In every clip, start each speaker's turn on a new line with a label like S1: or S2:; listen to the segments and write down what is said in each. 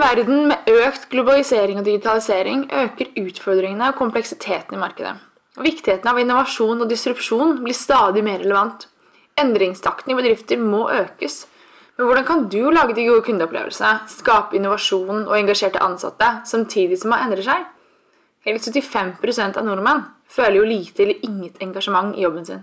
S1: verden med økt globalisering og digitalisering øker utfordringene og kompleksiteten i markedet. Viktigheten av innovasjon og disrupsjon blir stadig mer relevant. Endringstakten i bedrifter må økes. Men hvordan kan du lage de gode kundeopplevelsene, skape innovasjon og engasjerte ansatte, samtidig som man endrer seg? Hele 75 av nordmenn føler jo lite eller inget engasjement i jobben sin.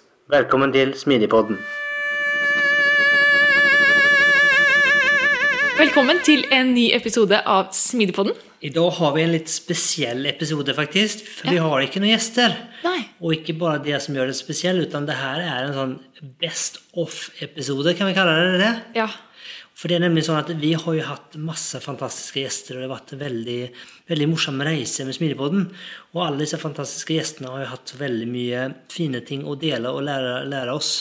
S2: Velkommen til Smidigpodden.
S3: Velkommen til en ny episode av Smidepodden.
S2: I dag har vi en litt spesiell episode, faktisk. For vi har ikke noen gjester.
S3: Nei.
S2: Og ikke bare det som gjør det spesiell, utan det her er en sånn best off-episode, kan vi kalle det det?
S3: Ja.
S2: For det er nemlig sånn at vi har jo hatt masse fantastiske gjester, og det har vært en veldig, veldig morsom reise med Smidepodden. Og alle disse fantastiske gjestene har jo hatt veldig mye fine ting å dele og lære, lære oss.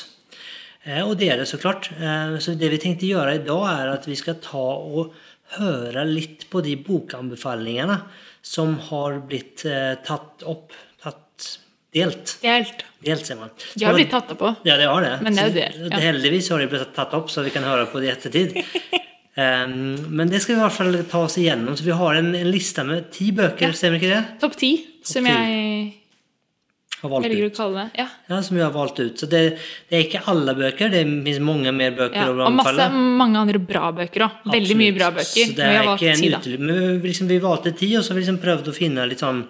S2: Eh, Og det er det så klart. Eh, Så det vi tenkte gjøre i dag, er at vi skal ta og høre litt på de bokanbefalingene som har blitt eh, tatt opp, tatt delt.
S3: Delt.
S2: Delt, sier man.
S3: De har blitt tatt opp òg.
S2: Ja, det har det.
S3: Men det er jo
S2: Så
S3: delt, ja.
S2: Heldigvis har de blitt tatt opp, så vi kan høre på det i ettertid. Ehm, men det skal vi i hvert fall ta oss igjennom. Så vi har en, en liste med ti bøker,
S3: Ja.
S2: stemmer ikke det?
S3: Topp ti, som
S2: ti.
S3: jeg
S2: Har valgt
S3: velger å
S2: ut.
S3: kalle det. Ja.
S2: Ja, som vi har valgt ut. Så det, det er ikke alle bøker, det finnes mange mer bøker
S3: Ja.
S2: å
S3: Og masse,
S2: anbefale.
S3: mange andre bra bøker òg. Veldig mye bra bøker.
S2: Så det
S3: Men vi
S2: er
S3: har
S2: ikke
S3: valgt
S2: en
S3: ti, da.
S2: utelukkelse. Men vi, liksom, vi valgte ti, og så har vi liksom prøvd å finne litt sånn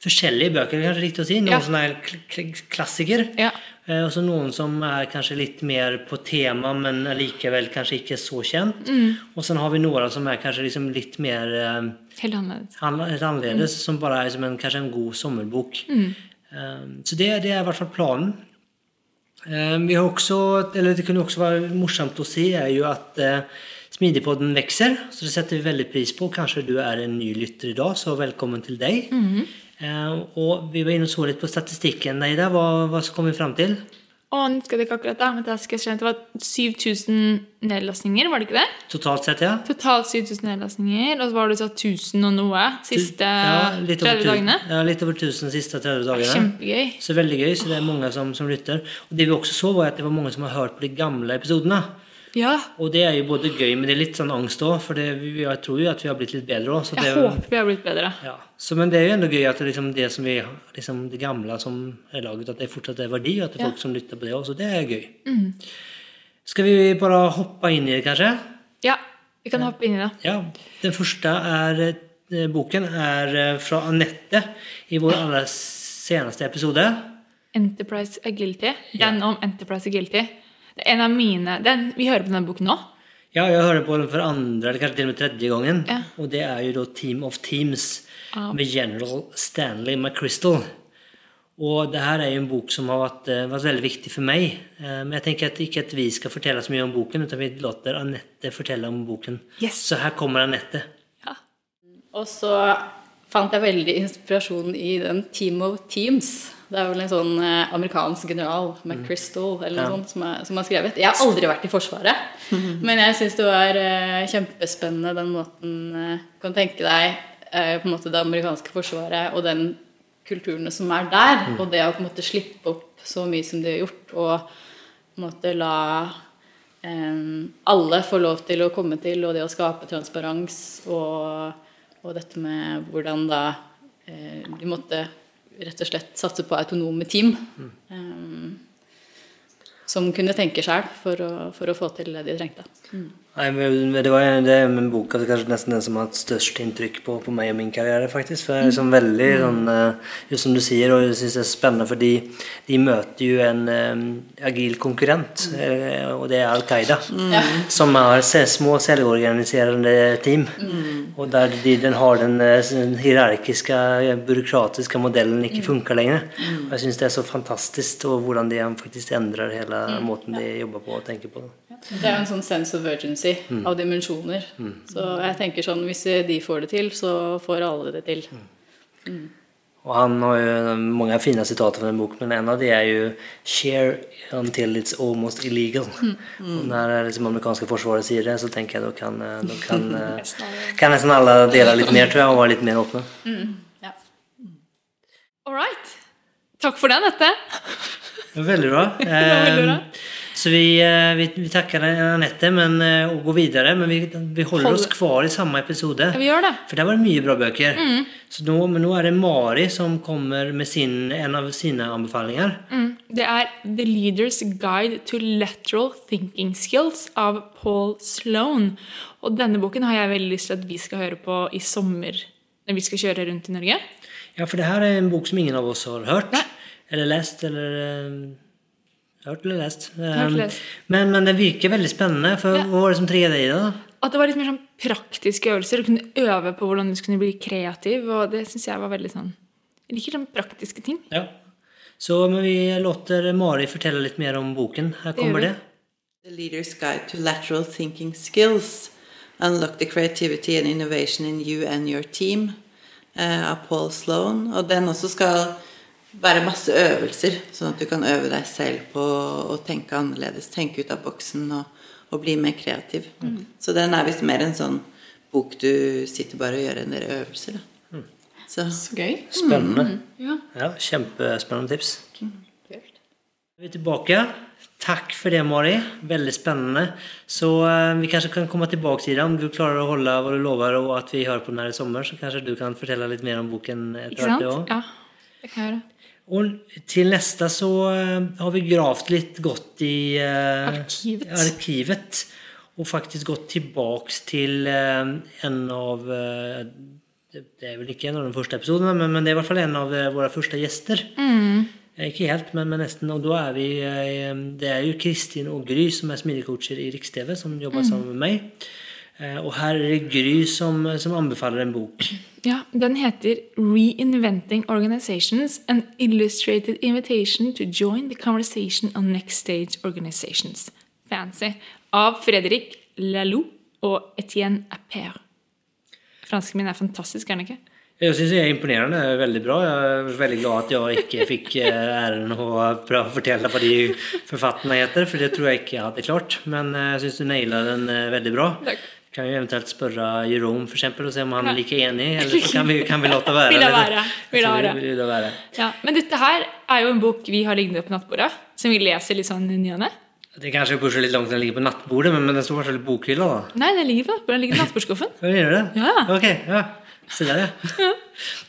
S2: forskjellige bøker, kanskje riktig å si. Noen
S3: Ja.
S2: som er kl kl klassiker,
S3: Ja.
S2: eh, og så noen som er kanskje litt mer på tema, men likevel kanskje ikke så kjent.
S3: Mm.
S2: Og så har vi noen som er kanskje liksom litt mer eh,
S3: Helt annerledes.
S2: an- litt annerledes, som bare er som en, kanskje en god sommerbok.
S3: Mm.
S2: Eh, så det, det er i hvert fall planen. Eh, Vi har også, eller det kunne også være morsomt å si, er jo at eh, Smidigpodden vokser, så det setter vi veldig pris på. Kanskje du er en ny lytter i dag, så velkommen til deg.
S3: Mm-hmm.
S2: Eh, og vi var inne og så litt på statistikken, Neida. Hva, hva så kom vi fram til?
S3: Å, nå husker jeg det ikke akkurat, da. Men det, skal jeg skjønne. det var 7000 nedlastninger, var det ikke det?
S2: Totalt sett, ja?
S3: Totalt 7000 nedlastninger. Og så var det så 1000 og noe siste
S2: Ja, litt over
S3: 30 dagene.
S2: tusen- Ja, litt over 1000 siste 30 dagene.
S3: Kjempegøy.
S2: Så veldig gøy, så det er mange som, som lytter. Og det vi også så, var at det var mange som har hørt på de gamle episodene.
S3: Ja.
S2: Og det er jo både gøy, men det er litt sånn angst òg, for det, vi- jeg tror jo at vi har blitt litt bedre òg.
S3: Jeg håper vi har blitt bedre.
S2: Ja. Så, men det er jo enda gøy at det, liksom, det som vi liksom, det gamle som er laget, at det fortsatt er verdi, og at det er folk som lytter på det òg. Så det er gøy.
S3: Mm.
S2: Skal vi bare hoppe inn i det, kanskje?
S3: Ja. Vi kan hoppe inn i det.
S2: Ja. Den første er, eh, boken er eh, fra Anette i vår aller seneste episode.
S3: Enterprise Agility. Den om Enterprise Agility. Det er en av mine den, Vi hører på denne boken nå.
S2: Ja, jeg hører på den for andre, eller kanskje til og med tredje gangen.
S3: Ja.
S2: Og det er jo da Team of Teams
S3: Ja.
S2: med General Stanley McChrystal. Og det her er jo en bok som har vært, eh, vært veldig viktig for meg. Eh, Men jeg tenker at ikke at vi skal fortelle så mye om boken, utan vi låter Anette fortelle om boken.
S3: Yes.
S2: Så her kommer Anette.
S3: Ja.
S4: Og så fant jeg veldig inspirasjon i den Team of Teams. Det er vel en sånn eh, amerikansk general, McChrystal, eller noe
S2: Ja.
S4: sånt, som er, som er skrevet. Jeg har aldri vært i Forsvaret, men jeg syns det var eh, kjempespennende den måten eh, Du kan tenke deg eh, på en måte det amerikanske forsvaret og den kulturene som er der, og det å på en måte slippe opp så mye som de har gjort, og på en måte la em, Ehm, alle få lov til å komme til, og det å skape transparens, og, og dette med hvordan da eh, de måtte rett og slett satse på autonome team.
S2: Mm.
S4: em, som kunne tenke sjøl for, å- for å få til det de trengte.
S2: Nei, men men det var en, det er en bok altså kanskje nesten den som har hatt størst inntrykk på, på meg og min karriere, faktisk. For det er liksom veldig sånn eh, Just som du sier, og jeg syns det er spennende, for de, de møter jo en eh, agil konkurrent, eh, og det er Al Qaida. Som har se- små selvorganiserende team. Og der de, den har den eh, den hierarkiske, eh, byråkratiske modellen ikke funker lenger. Og jeg syns det er så fantastisk og hvordan de faktisk endrer hele måten de jobber på og tenker på.
S4: Det er jo en sånn sense of urgency crazy
S2: Mm.
S4: av dimensjoner. Så jeg tenker sånn, hvis de får det til, så får alle det til.
S2: Och han har ju många fina citat från en bok men en av det är ju “Share until it's almost illegal”.
S3: Mm,
S2: Och när liksom amerikanska försvaret säger det så tänker jag då kan, eh, då kan, eh, kan nästan alla dela lite mer tror jag och vara lite mer öppna.
S4: Ja.
S3: All right. Takk for den, Nette.
S2: Väldigt bra. Ehm,
S3: väldigt bra.
S2: Så vi, eh, vi, vi tackar Anette men, eh, och går vidare men vi, vi håller oss kvar i samma episode.
S3: Vi gjør Mm. det.
S2: För där var det mycket bra böcker. Så då, men nu är det Mari som kommer med sin, en av sina anbefalningar.
S3: Mm. Det er The Leader's Guide to Lateral Thinking Skills av Paul Sloan. Og denne boken har jeg veldig lyst til at vi skal høre på i sommer når vi skal kjøre rundt i Norge.
S2: Ja, för det här är en bok som ingen av oss har hört. Eller läst eller... eh, Hört eller läst. Eh,
S3: läst.
S2: Men, men den virker väldigt spännande. För
S3: Ja.
S2: vad var det som triggade dig då?
S3: At det var litt mer sånn praktiske øvelser. Du kunne øve på hvordan du skulle bli kreativ. Og det syns jeg var veldig sånn Jeg liker sånn praktiske ting.
S2: Ja. Så men vi låter Mari fortelle litt mer om boken. Her
S3: gjør
S2: kommer
S3: vi.
S2: det.
S5: The Leader's Guide to Lateral Thinking Skills. Unlock the creativity and innovation in you and your team. eh, av Paul Sloan. Og den også skal være masse øvelser, sånn at du kan øve deg selv på å tenke annerledes. Tenke ut av boksen og, og bli mer kreativ. Så den er visst mer en sånn bok du sitter bare og gjør en del øvelser. Da. Så
S4: Så gøy.
S2: Spännande.
S3: Mm,
S4: ja.
S2: ja, kjempespännande tips. Vi är tillbaka. Tack för det Mari. Väldigt spännande. Så eh, vi kanske kan komma tillbaka till det. Om du klarar att hålla vad du lovar och att vi hör på den här i sommar så kanske du kan fortälla lite mer om boken. etter
S3: Ikke
S2: hvert,
S3: sant?
S2: ja.
S3: Ja. Det kan jeg gjøre.
S2: Och till nästa så eh, har vi gravt lite gott i eh,
S3: Arkivet.
S2: arkivet och faktiskt gått tillbaks till eh, en av eh, det- det är väl inte en av de första episoderna men, men det är i alla fall en av eh, våra första gäster. Eh, Inte helt men, men nästan och då är vi eh, det är ju Kristin och Gry som är smidigcoacher i Rikstv som jobbar sammen med mig. Eh, Och här är det Gry som, som anbefaller en bok.
S3: Ja, den heter Reinventing Organizations An Illustrated Invitation to Join the Conversation on Next Stage Organizations. Fancy. Av Fredrik Laloux og Etienne Appert. Fransken min er fantastisk, er den ikke?
S2: Jeg syns jeg er imponerende. Det er Veldig bra. Jeg er veldig glad at jeg ikke fikk eh, æren å prøve å fortelle hva de forfatterne heter, for det tror jeg ikke jeg hadde klart. Men eh, jeg syns du naila den eh, veldig bra.
S3: Takk.
S2: Kan vi eventuelt spørre Jerome for eksempel, og se om han
S3: Ja.
S2: er like enig, eller så kan vi, kan vi la det være.
S3: Vil det
S2: eller?
S3: være, vil det
S2: Så
S3: være.
S2: Vil det være.
S3: Ja, men dette her er jo en bok vi har liggende på nattbordet, som vi leser litt sånn i ny og ne.
S2: Det er kanskje pusher litt langt den ligger på nattbordet, men, men den står kanskje i bokhylla, da.
S3: Nei, den ligger på nattbordet, den ligger i nattbordskuffen.
S2: Ja, gjør det?
S3: Ja.
S2: Ok, ja. Se der, ja.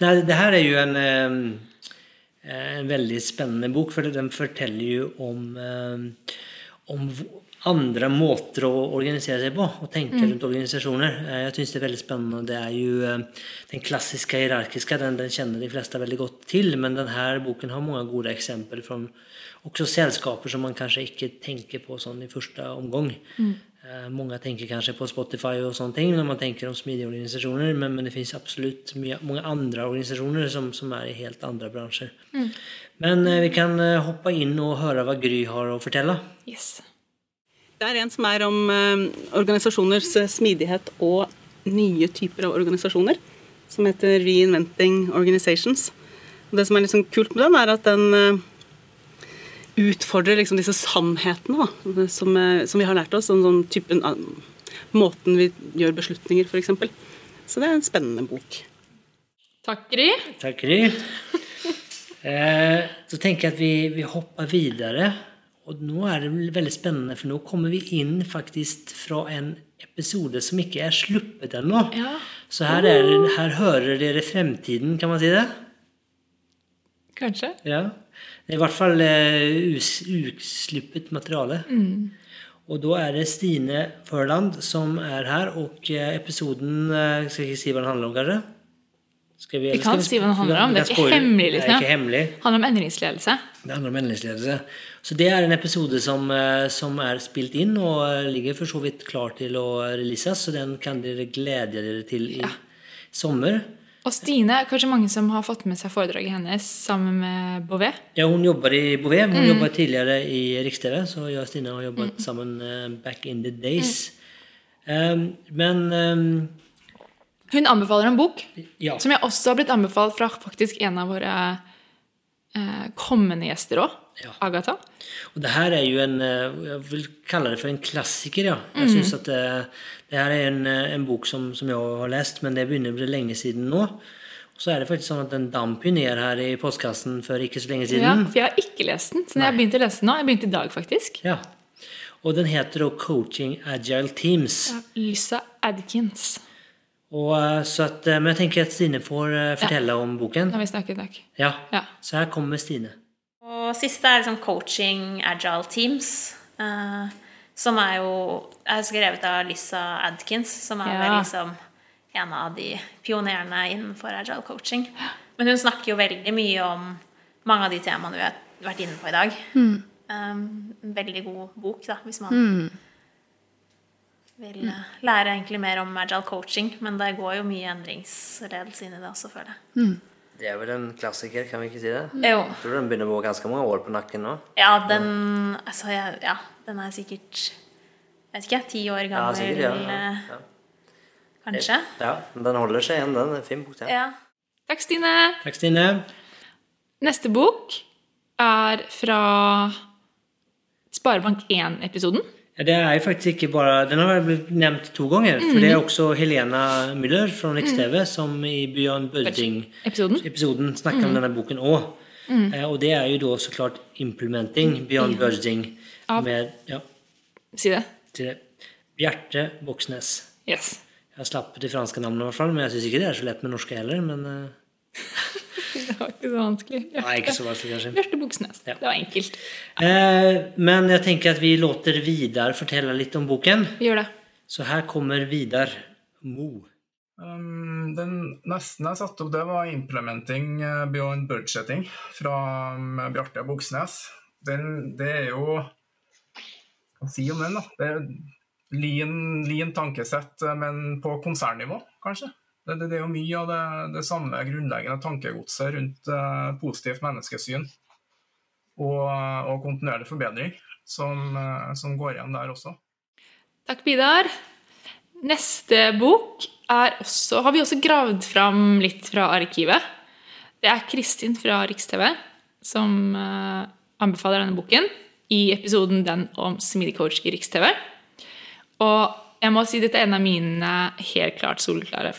S2: Nei, det her er jo en, eh, en veldig spennende bok, for den forteller jo om, eh, om v- andre måter å organisere seg på, og tenke rundt organisasjoner. Eh, Jeg syns det er veldig spennende. Det er jo eh, den klassiske hierarkiske, den, den kjenner de fleste veldig godt til, men denne boken har mange gode eksempler fra også selskaper som man kanskje ikke tenker på sånn i første omgang. Eh, Många tänker kanske på Spotify och sånt när man tänker om smidiga organisationer men, men det finns absolut mye- många andra organisationer som, som är i helt andra branscher. Men eh, vi kan eh, hoppa in och höra vad Gry har att fortälla.
S3: Yes.
S6: Det er en som er om eh, organisasjoners eh, smidighet og nye typer av organisasjoner, som heter Reinventing Organizations. Og det som er litt sånn kult med den, er at den eh, utfordrer liksom disse sannhetene da, som, eh, som vi har lært oss, om sånn typen av måten vi gjør beslutninger, f.eks. Så det er en spennende bok.
S3: Takk, Gry.
S2: Tack Gry! Eh, så tänker jag att vi, vi hoppar vidare och nu är det väl väldigt spännande för nu kommer vi in faktiskt från en episode som inte är sluppet ännu.
S3: Ja.
S2: Så här, är, det- här hörer dere fremtiden, kan man säga det?
S3: Kanskje.
S2: Ja. Det er i hvert fall eh, us- uslippet materiale.
S3: Mm.
S2: Og da er det Stine Førland som er her, og eh, episoden eh, Skal jeg ikke si hva den handler om, kanskje? Skal
S3: Vi kan si hva den handler om, det
S2: Vi
S3: er
S2: kan
S3: ikke
S2: spoile-
S3: hemmelig,
S2: Det
S3: liksom.
S2: er ikke hemmelig.
S3: Handler om endringsledelse.
S2: Det handler om menneskeledelse. Så det er en episode som, eh, som er spilt inn og eh, ligger for så vidt klar til å releases, så den kan dere glede dere til i sommer.
S3: Og Stine er kanskje mange som har fått med seg foredraget hennes sammen med Bouvet.
S2: Ja, hon jobbar i Bouvet. Hon
S3: Mm.
S2: jobbar tidigare i Rikstv. Så jag och Stina har jobbat sammen eh, back in the days.
S3: Mm.
S2: Ehm, men ehm,
S3: Hun anbefaler en bok
S2: ja.
S3: som jeg også har blitt anbefalt fra faktisk en av våre eh, kommende gjester òg.
S2: Ja.
S3: Agatha.
S2: Og det her er jo en eh, Jeg vil kalle det for en klassiker, ja.
S3: Mm.
S2: Jeg synes at det, det her er en, eh, en bok som, som jeg har lest, men det begynner å bli lenge siden nå. Og så er det faktisk sånn at den damp jo ned her i postkassen for ikke så lenge
S3: Ja,
S2: siden.
S3: for jeg har ikke lest den. Så jeg begynte å lese den nå. Jeg begynte i dag, faktisk.
S2: Ja. Og den heter da 'Coaching Agile Teams'.
S3: Lyssa Adkins.
S2: Og, eh, så at, eh, men jeg tenker at Stine får eh, fortelle om boken.
S3: Nå har vi snakket i dag.
S2: Ja.
S3: Ja.
S2: Så her kommer Stine.
S7: Og siste er liksom coaching agile teams. eh, som er jo er skrevet av Lissa Adkins, som er
S3: Ja.
S7: vel liksom en av de pionerene innenfor agile coaching. Men hun snakker jo veldig mye om mange av de temaene vi har vært inne på i dag. Um, en veldig god bok, da, hvis man vil eh, lære egentlig mer om agile coaching. Men det går jo mye endringsledelse inn i det også, føler jeg.
S2: Det er vel en klassiker, kan vi ikke si det?
S7: Jo.
S2: Tror den begynner å gå ganske mange år på nakken nå.
S7: Ja, den, altså, jeg, ja, den er sikkert Jeg vet ikke, ti år gammel, eh, kanskje.
S2: Den holder seg igjen, den. Fin bok,
S7: Ja.
S3: Takk, Stine.
S2: Takk, Stine.
S3: Neste bok er fra Sparebank1-episoden.
S2: Ja, Det er jo faktisk ikke bare Den har blitt nevnt to ganger. For
S3: Mhm.
S2: det er også Helena Müller fra Riks-TV som i Bjørn
S3: Episoden. Mhm.
S2: Børding-episoden snakker om denne boken òg. Eh, og det er jo da så klart 'Implementing Bjørn Børding'
S3: Av-
S2: med ja,
S3: Si det.
S2: til Bjarte Voksnes.
S3: Yes.
S2: Jeg slapp det franske navnet, i hvert fall, men jeg syns ikke det er så lett med norske heller. Men eh,
S3: Det var ikke så vanskelig.
S2: nei, ikke så vanskelig, kanskje.
S3: Bjarte Buksnes. Det var enkelt.
S2: Eh, men jeg tenker at vi låter Vidar fortelle litt om boken.
S3: Vi gjør det.
S2: Så her kommer Vidar Mo.
S8: Um, den nesten jeg satte opp, det var 'Implementing eh, Beyond Budgeting' fra um, Bjarte Buksnes. Den, det er jo Hva si om den, da? Det er lean, lean tankesett, eh, men på konsernnivå, kanskje. Det, det, det er jo mye av det, det samme grunnleggende tankegodset rundt eh, positivt menneskesyn og, og kontinuerlig forbedring som, eh, som går igjen der også.
S3: Takk, Bidar. Neste bok er også, har vi også gravd fram litt fra arkivet. Det er Kristin fra Riks-TV som eh, anbefaler denne boken i episoden den om smidig coach i Riks-TV. Og jeg må si dette er en av mine helt klart solklare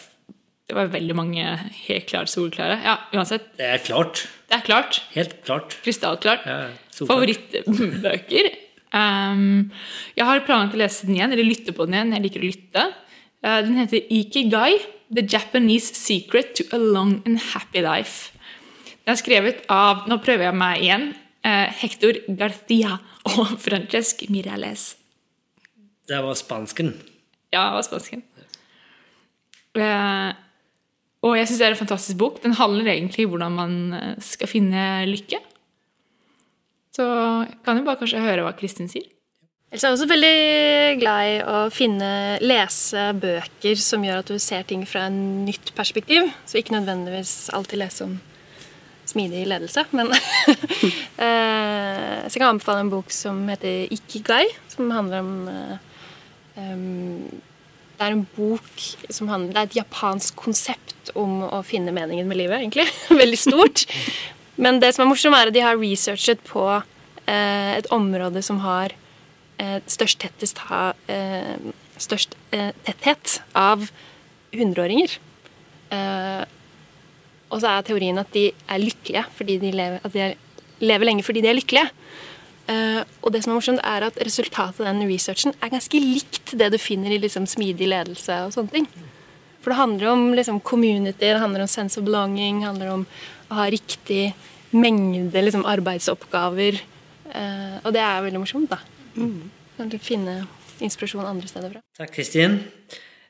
S3: Det var veldig mange helt klart solklare. Ja, uansett.
S2: Det er klart.
S3: Det er klart.
S2: Helt klart.
S3: Krystallklart.
S2: Ja, solklart.
S3: favorittbøker. Ehm, jeg har planlagt å lese den igjen, eller lytte på den igjen. Jeg liker å lytte. Eh, den heter Ikigai, The Japanese Secret to a Long and Happy Life. Den er skrevet av Nå prøver jeg meg igjen. eh, Hector Garcia og Francesc Mirales.
S2: Det var spansken.
S3: Ja, det var spansken. Eh, og jeg syns det er en fantastisk bok. Den handler egentlig om hvordan man eh, skal finne lykke. Så kan jo bare kanskje høre hva Kristin sier.
S9: Ellers er jeg også veldig glad i å finne, lese bøker som gjør at du ser ting fra et nytt perspektiv. Så ikke nødvendigvis alltid lese om smidig ledelse, men eh, Så jeg kan anbefale en bok som heter Ikigai, som handler om eh, em, Det er en bok som handler Det er et japansk konsept om å finne meningen med livet, egentlig. Veldig stort. Men det som er morsomt, er at de har researchet på eh, et område som har eh, størst, tettest ha, eh, størst eh, tetthet av hundreåringer. Eh, og så er teorien at de er lykkelige fordi de lever, at de er, lever lenge fordi de er lykkelige. Eh, og det som er morsomt er at resultatet av den researchen er ganske likt det du finner i liksom, smidig ledelse og sånne ting. For det handler om liksom, community, det handler om sense of belonging, det handler om å ha riktig mengde liksom, arbeidsoppgaver. Eh, og det er veldig morsomt, da. Kan du finne inspirasjon andre steder fra?
S2: Takk, Kristin.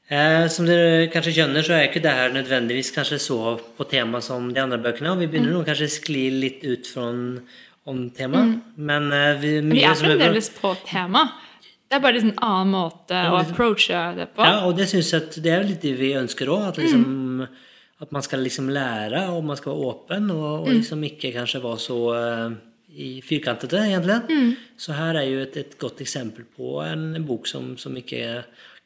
S2: Eh, som dere kanskje skjønner, så er ikke det her nødvendigvis kanskje så på tema som de andre bøkene. Og vi begynner nå kanskje å skli litt ut fra om temaet. Men eh, vi,
S3: Vi
S2: mye
S3: er
S2: som bra.
S3: fremdeles på tema. Det er bare liksom en annen måte å approache det på.
S2: Ja, og det synes jeg at det er jo litt det vi ønsker òg. At, liksom, at man skal liksom lære, og man skal være åpen, og, og liksom ikke kanskje være så eh, i firkantete, egentlig. Så her er jo et, et godt eksempel på en bok som, som ikke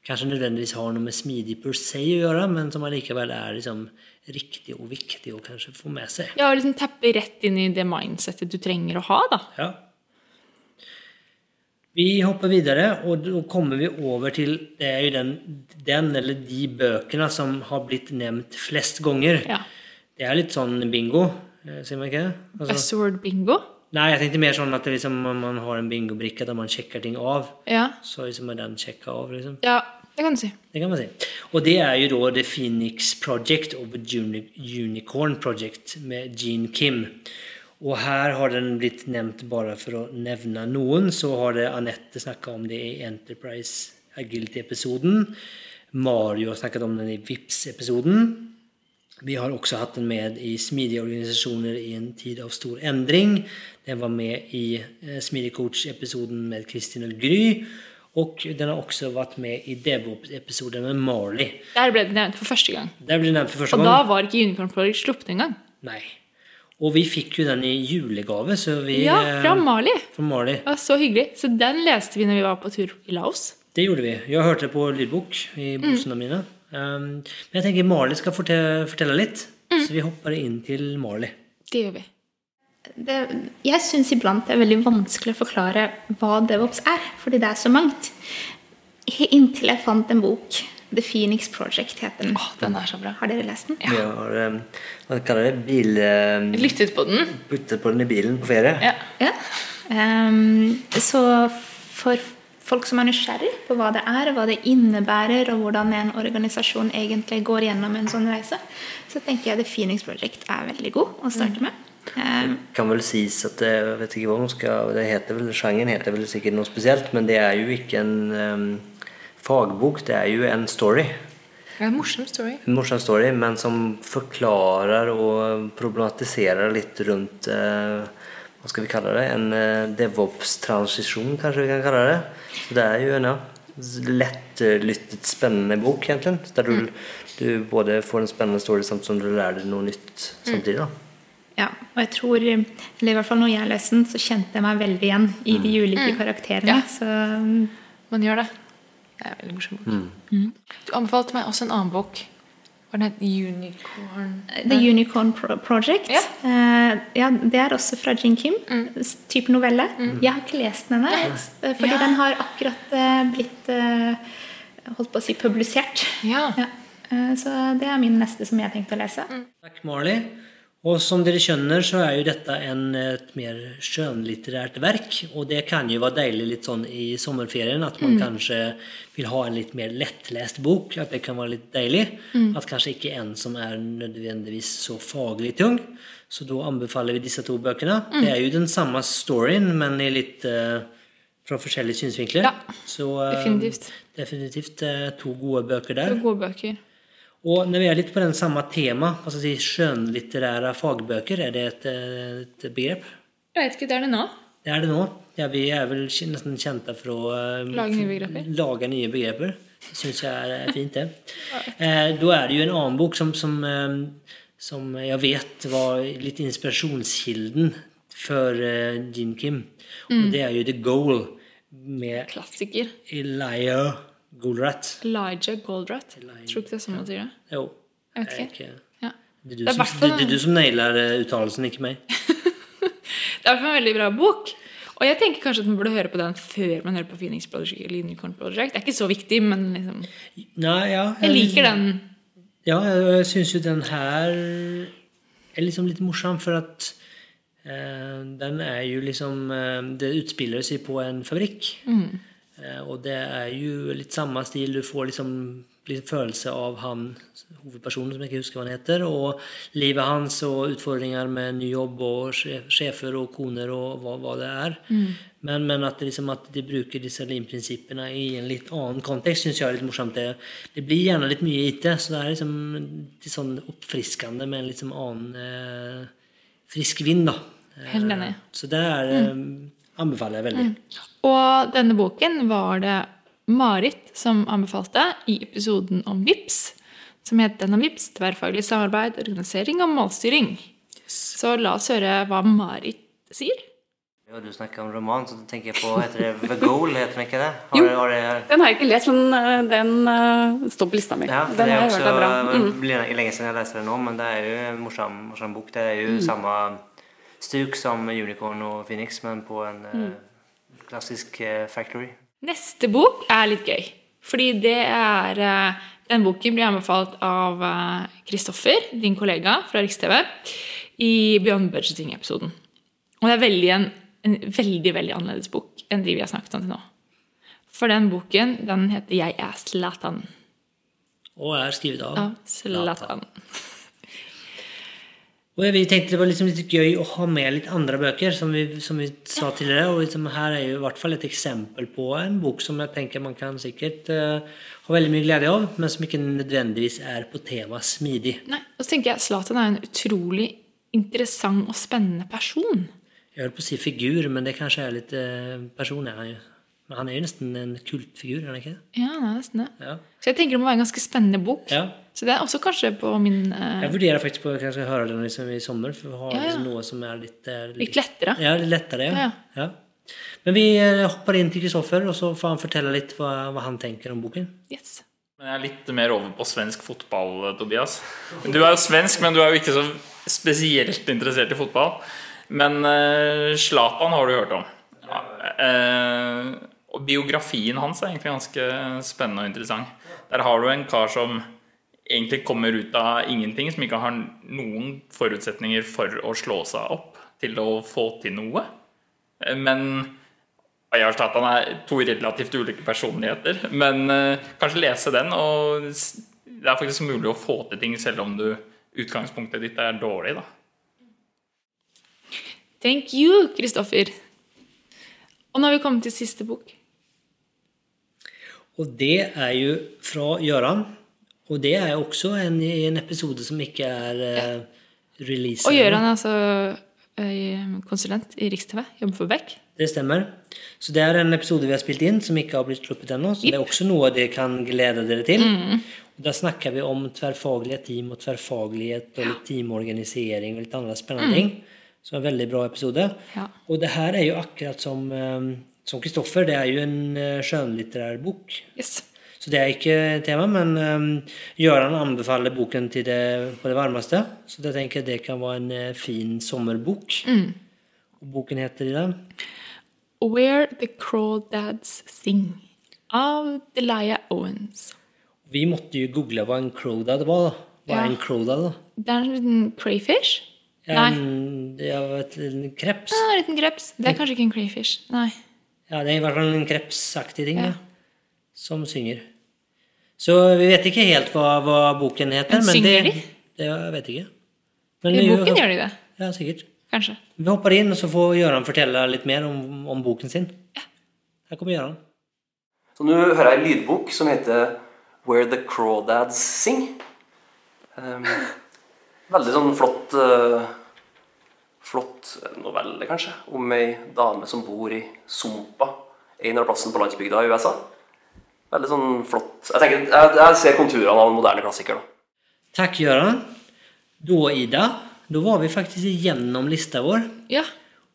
S2: kanskje nødvendigvis har noe med smidig per se å gjøre, men som allikevel er liksom riktig og viktig å kanskje få med seg.
S3: Ja, og liksom tappe rett inn i det mindsettet du trenger å ha, da.
S2: Ja. Vi hopper videre, og da kommer vi over til det er jo den, den eller de bøkene som har blitt nevnt flest ganger.
S3: Ja.
S2: Det er litt sånn bingo, eh, sier man ikke det? Altså-
S3: Buzzword bingo.
S2: Nei, jeg tenkte mer sånn at det liksom, om man har en bingobrikke der man sjekker ting av.
S3: Ja.
S2: Så liksom er den sjekka av, liksom.
S3: ja, det kan du si.
S2: Det kan man si. Og det er jo da The Phoenix Project og The Uni Unicorn Project med Gene Kim. Og her har den blitt nevnt bare for å nevne noen, så har det Anette snakka om det i Enterprise Agility-episoden. Mario har snakket om den i Vips-episoden. Vi har også hatt den med i smidige organisasjoner i en tid av stor endring. Den var med i eh, Smidig coach-episoden med Kristin og Gry. Og den har også vært med i Devo-episoden med Marley.
S3: Der ble det nevnt for første gang.
S2: Der ble den nevnt for første
S3: Og
S2: gang.
S3: da var ikke Unicorn Project sluppet engang.
S2: Nei. Og vi fikk jo den i julegave, så vi
S3: Ja, fra
S2: eh,
S3: Mali.
S2: Fra Marley.
S3: Det var så hyggelig. Så den leste vi når vi var på tur i Laos.
S2: Det gjorde vi. Jeg hørte på lydbok
S3: Mm.
S2: i buksene mine. Um, men jeg tenker Marley skal fortelle, fortelle litt,
S3: Mm.
S2: så vi hopper inn til Marley.
S3: Det gjør vi.
S10: det, jeg syns iblant det er veldig vanskelig å forklare hva DevOps er, fordi det er så mangt. He- Inntil jeg fant en bok. The Phoenix Project heter den.
S3: Den er så bra.
S10: Har dere lest den?
S2: Vi har um, hva kaller det? Bil... Um,
S3: Lyttet på den.
S2: puttet på den i bilen på ferie.
S3: Ja.
S10: Ja. Ehm, så for folk som er nysgjerrig på hva det er, hva det innebærer, og hvordan en organisasjon egentlig går gjennom en sånn reise, så tenker jeg The Phoenix Project er veldig god å starte med. Ehm,
S2: Kan vel sies at det, jeg vet ikke hva man skal, det heter vel, Sjangeren heter vel sikkert noe spesielt, men det er jo ikke en em, fagbok, det er jo en story.
S3: Det er en morsom story.
S2: En morsom story, men som forklarer og problematiserer litt rundt eh, Hva skal vi kalle det? En eh, devops-transisjon, kanskje vi kan kalle det. Så det er jo en ja, lettlyttet, spennende bok, egentlig. Der
S3: Mm.
S2: du, du både får en spennende story samtidig som du lærer deg noe nytt samtidig. da.
S10: Ja, og jeg tror, eller i hvert fall når jeg leste den, så kjente jeg meg veldig igjen i de ulike karakterene. Så mm,
S3: Man gjør det. Det er veldig morsomt. Mm. Du anbefalte meg også en annen bok. Var den het Unicorn
S10: The Unicorn Pro Project.
S3: Ja. Mm.
S10: Eh, ja, det er også fra Jin Kim. s- Type novelle. Jeg har ikke lest den ennå, eh, fordi
S3: Ja.
S10: den har akkurat eh, blitt eh, holdt på å si publisert.
S3: Ja.
S10: Eh, Så det er min neste som jeg har tenkt å lese.
S2: Takk, Marley. Og som dere skjønner, så er jo dette en, et mer skjønnlitterært verk. Og det kan jo være deilig litt sånn i sommerferien, at
S3: Mm.
S2: man kanskje vil ha en litt mer lettlest bok. At det kan være litt deilig.
S3: Mm.
S2: At kanskje ikke en som er nødvendigvis så faglig tung. Så da anbefaler vi disse to bøkene.
S3: Mm.
S2: Det er jo den samme storyen, men i litt eh, fra forskjellige synsvinkler.
S3: Ja,
S2: Så eh,
S3: definitivt.
S2: definitivt eh, to gode bøker der.
S3: og gode bøker.
S2: Og når vi er litt på den samme tema, altså si skjønnlitterære fagbøker, er det et, eh, et begrep?
S3: Jeg vet ikke, det er det nå.
S2: Det er det nå. Ja, vi er vel kj- nesten kjente for å eh,
S3: Lage nye begreper.
S2: Lage nye begreper. Det syns jeg er eh, fint, det. Eh, Da er det jo en annen bok som, som, eh, som jeg vet var litt inspirasjonskilden for eh, Jim Kim,
S3: Mm.
S2: og det er jo The Goal med
S3: Klassiker.
S2: Elia Golrat.
S3: Elijah Goldratt. Tror ikke det er sånn man sier det.
S2: Jo. Eh,
S3: Jeg vet
S2: er
S3: ikke.
S2: ikke-
S3: Ja.
S2: Det er du,
S3: Det er
S2: som, det,
S3: hvertfall-
S2: det er du som nailer eh, uttalelsen, ikke meg.
S3: Det er i hvert fall en veldig bra bok. Og jeg tenker kanskje at man burde høre på den før man hører på Phoenix Project eller Unicorn Project. Det er ikke så viktig, men liksom,
S2: Nei, ja,
S3: jeg liker den.
S2: Ja, jeg, jeg syns jo den her er liksom litt morsom, for at eh, den er jo liksom eh, Det utspiller seg på en fabrikk. Eh, og det er jo litt samme stil. Du får liksom litt følelse av han hovedpersonen, som jeg ikke husker hva han heter, og livet hans og utfordringer med ny jobb og sjef- sjefer og koner og hva, hva det er. Men, men at, det liksom, at de bruker disse linprinsippene i en litt annen kontekst, syns jeg er litt morsomt. Det, det blir gjerne litt mye IT, så det er liksom litt sånn oppfriskende med en litt sånn annen eh, frisk vind, da.
S3: Helt enig.
S2: Så det er, eh, anbefaler jeg veldig.
S3: Og denne boken var det Marit som anbefalte i episoden om VIPS, som het Den om VIPS, tverrfaglig samarbeid, organisering og målstyring. Så la oss høre hva Marit sier.
S2: Ja, du snakker om roman, så tenker jeg på heter det The Goal? heter den ikke det?
S3: Jo,
S2: har det her?
S11: Den har jeg ikke lest, men eh, den eh, står på lista mi.
S2: Ja,
S11: den
S2: det
S11: har
S2: er
S11: jeg hørt er bra.
S2: også
S11: Mm.
S2: det blir lenge siden jeg leste det nå, men det er jo en morsom, morsom bok. Det er jo
S11: Mm.
S2: samme stuk som Unicorn og Phoenix, men på en eh,
S11: Mm.
S2: klassisk eh, factory.
S3: Neste bok er litt gøy. Fordi det er eh, Den boken blir anbefalt av eh, Kristoffer, din kollega fra Riks-TV, i Beyond Budgeting-episoden. Og det er veldig en, en veldig veldig annerledes bok enn de vi har snakket om til nå. For den boken den heter 'Jeg er Zlatan'.
S2: Og er skrevet av.
S3: Av Zlatan.
S2: Og vi tenkte det var liksom litt gøy å ha med litt andre bøker, som vi, som vi sa tidligere. Og liksom her er jo i hvert fall et eksempel på en bok som jeg tenker man kan sikkert eh, ha veldig mye glede av, men som ikke nødvendigvis er på tema smidig.
S3: Nei, og så tenker jeg Zlatan er en utrolig interessant og spennende person.
S2: Jeg holdt på å si figur, men det kanskje er litt eh, person er han jo. Men han er jo nesten en kultfigur, er han ikke det?
S3: Ja, han er nesten det.
S2: Ja.
S3: Så jeg tenker det må være en ganske spennende bok.
S2: ja.
S3: Så det er også kanskje på min eh,
S2: Jeg vurderer faktisk på å kanskje høre den liksom i sommer, for å ha
S3: Ja, ja.
S2: liksom noe som er litt, eh,
S3: litt lettere.
S2: Ja, litt lettere, ja.
S3: Ja,
S2: ja. Men vi eh, hopper inn til Kristoffer, og så får han fortelle litt hva, hva han tenker om boken.
S3: Yes.
S12: Men jeg er litt mer over på svensk fotball, Tobias. Du er jo svensk, men du er jo ikke så spesielt interessert i fotball. Men eh, Zlatan har du hørt om. Ja, eh, og biografien hans er egentlig ganske spennende og interessant. Der har du en kar som egentlig kommer ut av ingenting, som ikke har noen forutsetninger for å slå seg opp til å få til noe. Eh, Men jeg har tatt han er to relativt ulike personligheter, men eh, kanskje lese den. Og s- det er faktisk mulig å få til ting selv om du, utgangspunktet ditt er dårlig. da.
S3: Thank you, Kristoffer. Og nå har vi kommet til siste bok.
S2: Og det er jo fra Gøran. Og det er jo også en, i en episode som ikke er eh, releaset.
S3: Og Gøran er altså eh, konsulent i Riks-TV, jobber for Beck.
S2: Det stemmer. Så det er en episode vi har spilt inn som ikke har blitt sluppet ennå. Så det er også noe dere kan glede dere til. Og Da snakker vi om tverrfaglige team og tverrfaglighet og litt teamorganisering og litt andre spennende ting. Så en veldig bra episode.
S3: Ja.
S2: Og det her er jo akkurat som eh, som Kristoffer. Det er jo en eh, skjønnlitterær bok.
S3: Yes.
S2: Så det er ikke tema, men um, Gøran anbefaler boken til det på det varmeste. Så jeg tenker det kan være en eh, fin sommerbok. Og boken heter i dag
S3: Where the Crawdads Sing av Delia Owens.
S2: Vi måtte jo google hva en crowdad var. da. Hva
S3: Ja.
S2: er en crowdad, da?
S3: Det er en liten crayfish.
S2: Ja, En, ja, vet, en kreps?
S3: Ja, en liten kreps. Det er kanskje ikke en crayfish. Nei.
S2: Ja, det er i hvert fall en krepsaktig ting
S3: Ja.
S2: da, som synger. Så vi vet ikke helt hva, hva boken heter.
S3: Men
S2: Men,
S3: synger
S2: det,
S3: de?
S2: Det jeg vet ikke. Men
S3: I
S2: vi-
S3: boken gjør de det,
S2: Ja, sikkert.
S3: kanskje.
S2: Vi hopper inn, og så får Gøran fortelle litt mer om, om boken sin. Her kommer Gøran.
S13: Så nå hører jeg en lydbok som heter Where the Crawdads Sing. Ehm, veldig sånn flott eh, flott novelle, kanskje, om ei dame som bor i Sumpa, en eller annen plassen på landsbygda i USA. Veldig sånn flott Jeg, tenker, jeg, jeg ser konturene av en moderne klassiker. da.
S2: Takk, Gøran. Da, Ida, da var vi faktisk igjennom lista vår.
S3: Ja.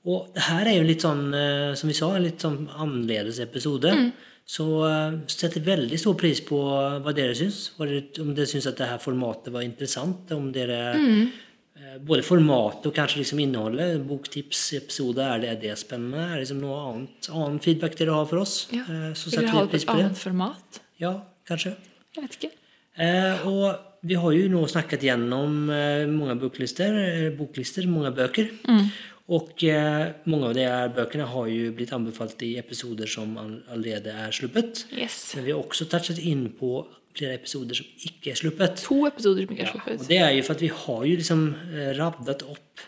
S2: Og det her er jo litt sånn, eh, som vi sa, en litt sånn annerledes episode.
S3: Mm.
S2: Så eh, setter veldig stor pris på hva dere syns. Hva dere- Om dere syns at det her formatet var interessant. Om dere
S3: Mm.
S2: eh, Både formatet og kanskje liksom innholdet. Boktipsepisode, er det, er det spennende? Er det liksom noe annet, annen feedback dere har for oss?
S3: ja.
S2: Eh, Så
S3: Vil
S2: setter
S3: dere
S2: vi
S3: ha det på
S2: pris
S3: et
S2: på det.
S3: annet format?
S2: Ja, kanskje.
S3: Jeg vet ikke.
S2: Eh, og vi har jo nå snakket gjennom eh, mange boklister, eh, boklister, mange bøker. Og eh, mange av de her bøkene har jo blitt anbefalt i episoder som all- allerede er sluppet.
S3: Yes.
S2: Men vi har også touchet inn på flere episoder som ikke er sluppet.
S3: To episoder som ikke er
S2: Og
S3: sluppet.
S2: det er jo for at vi har jo liksom eh, raddet opp.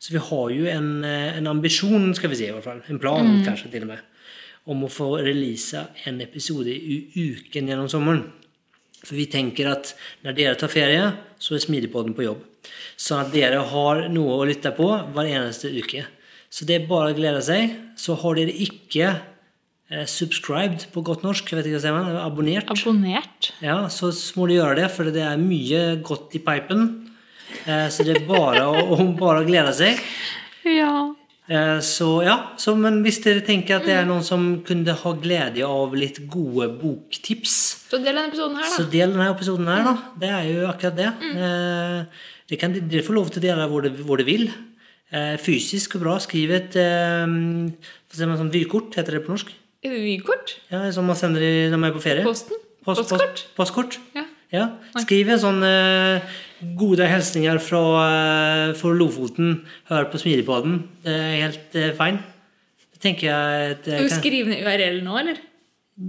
S2: Så vi har jo en, eh, en ambisjon, skal vi si i hvert fall. En plan, kanskje, til og med. Om å få release en episode i uken gjennom sommeren. For vi tenker at når dere tar ferie, så er Smidigpodden på jobb. Så at dere har noe å lytte på hver eneste uke. Så det er bare å glede seg. Så har dere ikke eh, subscribed på godt norsk, jeg vet ikke hva sier man, abonnert.
S3: Abonnert.
S2: Ja, så må du gjøre det, for det er mye godt i pipen. Eh, Så det er bare å, å bare glede seg.
S3: Ja.
S2: Eh, Så ja, så, men hvis dere tenker at det er noen som kunne ha glede av litt gode boktips,
S3: Så del denne episoden her, da.
S2: så del denne episoden her, da. Det er jo akkurat det. Eh, det kan, dere får lov til å dele hvor det, hvor det vil. Eh, fysisk og bra. Skriv et eh, hva sier man, sånn vykort, heter det på norsk.
S3: Er det vykort?
S2: Ja, Som man sender i, når man er på ferie.
S3: Posten?
S2: Post, post, postkort?
S3: Ja.
S2: Ja. Skriv en sånn eh, 'Gode hilsninger fra, eh, fra Lofoten. Hør på Smidigpodden'. Det er helt eh, fine. Det tenker jeg at,
S3: Skal
S2: eh,
S3: vi skrive ned URL nå, eller?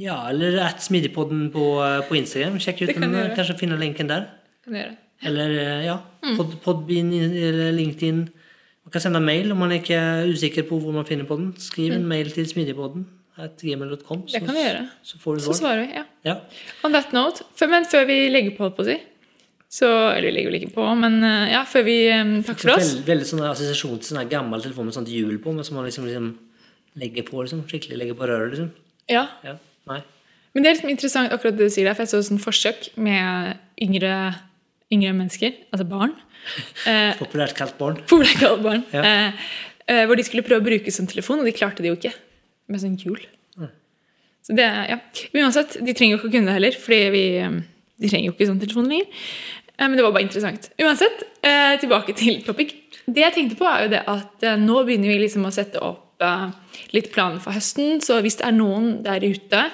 S2: Ja, eller at Smidigpodden på, eh, på Instagram. Sjekk ut
S3: Det kan
S2: den.
S3: du
S2: eh,
S3: gjøre.
S2: Kanskje finne linken der.
S3: Kan du gjøre.
S2: Eller eh, ja,
S3: Mm.
S2: pod, Podbean eller LinkedIn. Man kan sende mail om man ikke er usikker på hvor man finner på den. Skriv en
S3: Mm.
S2: mail til smidigpodden. at gmail.com,
S3: Det kan vi gjøre.
S2: Så får du
S3: Så
S2: svar.
S3: svarer vi, ja.
S2: Ja.
S3: On that note, før, men før vi legger på, holdt på å si så, Eller vi legger vel ikke på, men eh, ja, før vi eh, Takk for oss.
S2: Veldig, veldig sånn assosiasjon til sånn her gammel telefon med sånt hjul på, men som man liksom, liksom legger på, liksom. Skikkelig legger på røret, liksom.
S3: Ja.
S2: Ja. Nei.
S3: Men det er litt interessant akkurat det du sier der, for jeg så sånn forsøk med yngre, yngre mennesker, altså barn. Eh,
S2: Populært kalt barn.
S3: Populært kalt barn.
S2: Ja.
S3: Eh, eh, hvor de skulle prøve å bruke sånn telefon, og de klarte det jo ikke. Med sånn hjul.
S2: Mm.
S3: Så det, er- ja. Men uansett, de trenger jo ikke å kunne det heller, fordi vi, eh, de trenger jo ikke sånn telefon lenger. Eh, men det var bare interessant. Uansett, eh, tilbake til topic. Det jeg tenkte på, er jo det at eh, nå begynner vi liksom å sette opp eh, litt planer for høsten. Så hvis det er noen der ute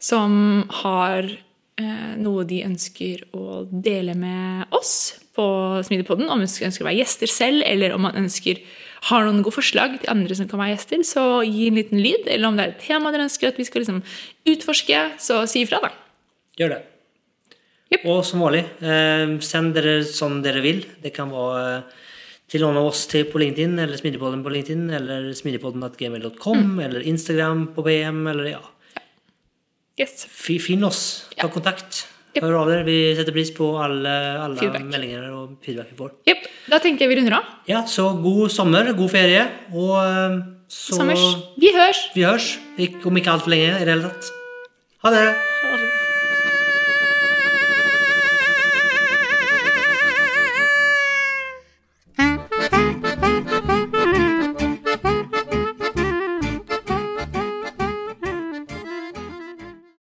S3: som har eh, noe de ønsker å dele med oss på Smidepodden, om man ønsker å være gjester selv, eller om man ønsker har noen gode forslag til andre som kan være gjester, så gi en liten lyd. Eller om det er et tema dere ønsker at vi skal liksom utforske, så si ifra, da.
S2: Gjør det. Og som vanlig, eh, send dere som dere vil. Det kan være eh, til noen av oss til på LinkedIn, eller Smidigpodden på LinkedIn, eller smidigpodden.gmail.com, eller Instagram på BM, eller ja.
S3: Yes.
S2: Fi- Finn oss. Ta kontakt. Hør av dere. Vi setter pris på alle, alle
S3: Feedback.
S2: meldinger og feedback vi får.
S3: Jepp. Da tenker jeg vi runder av.
S2: Ja, så god sommer, god ferie, og eh, så
S3: Sommers. Vi hørs!
S2: Vi hørs, ikke- om ikke altfor lenge i det hele tatt. Ha det!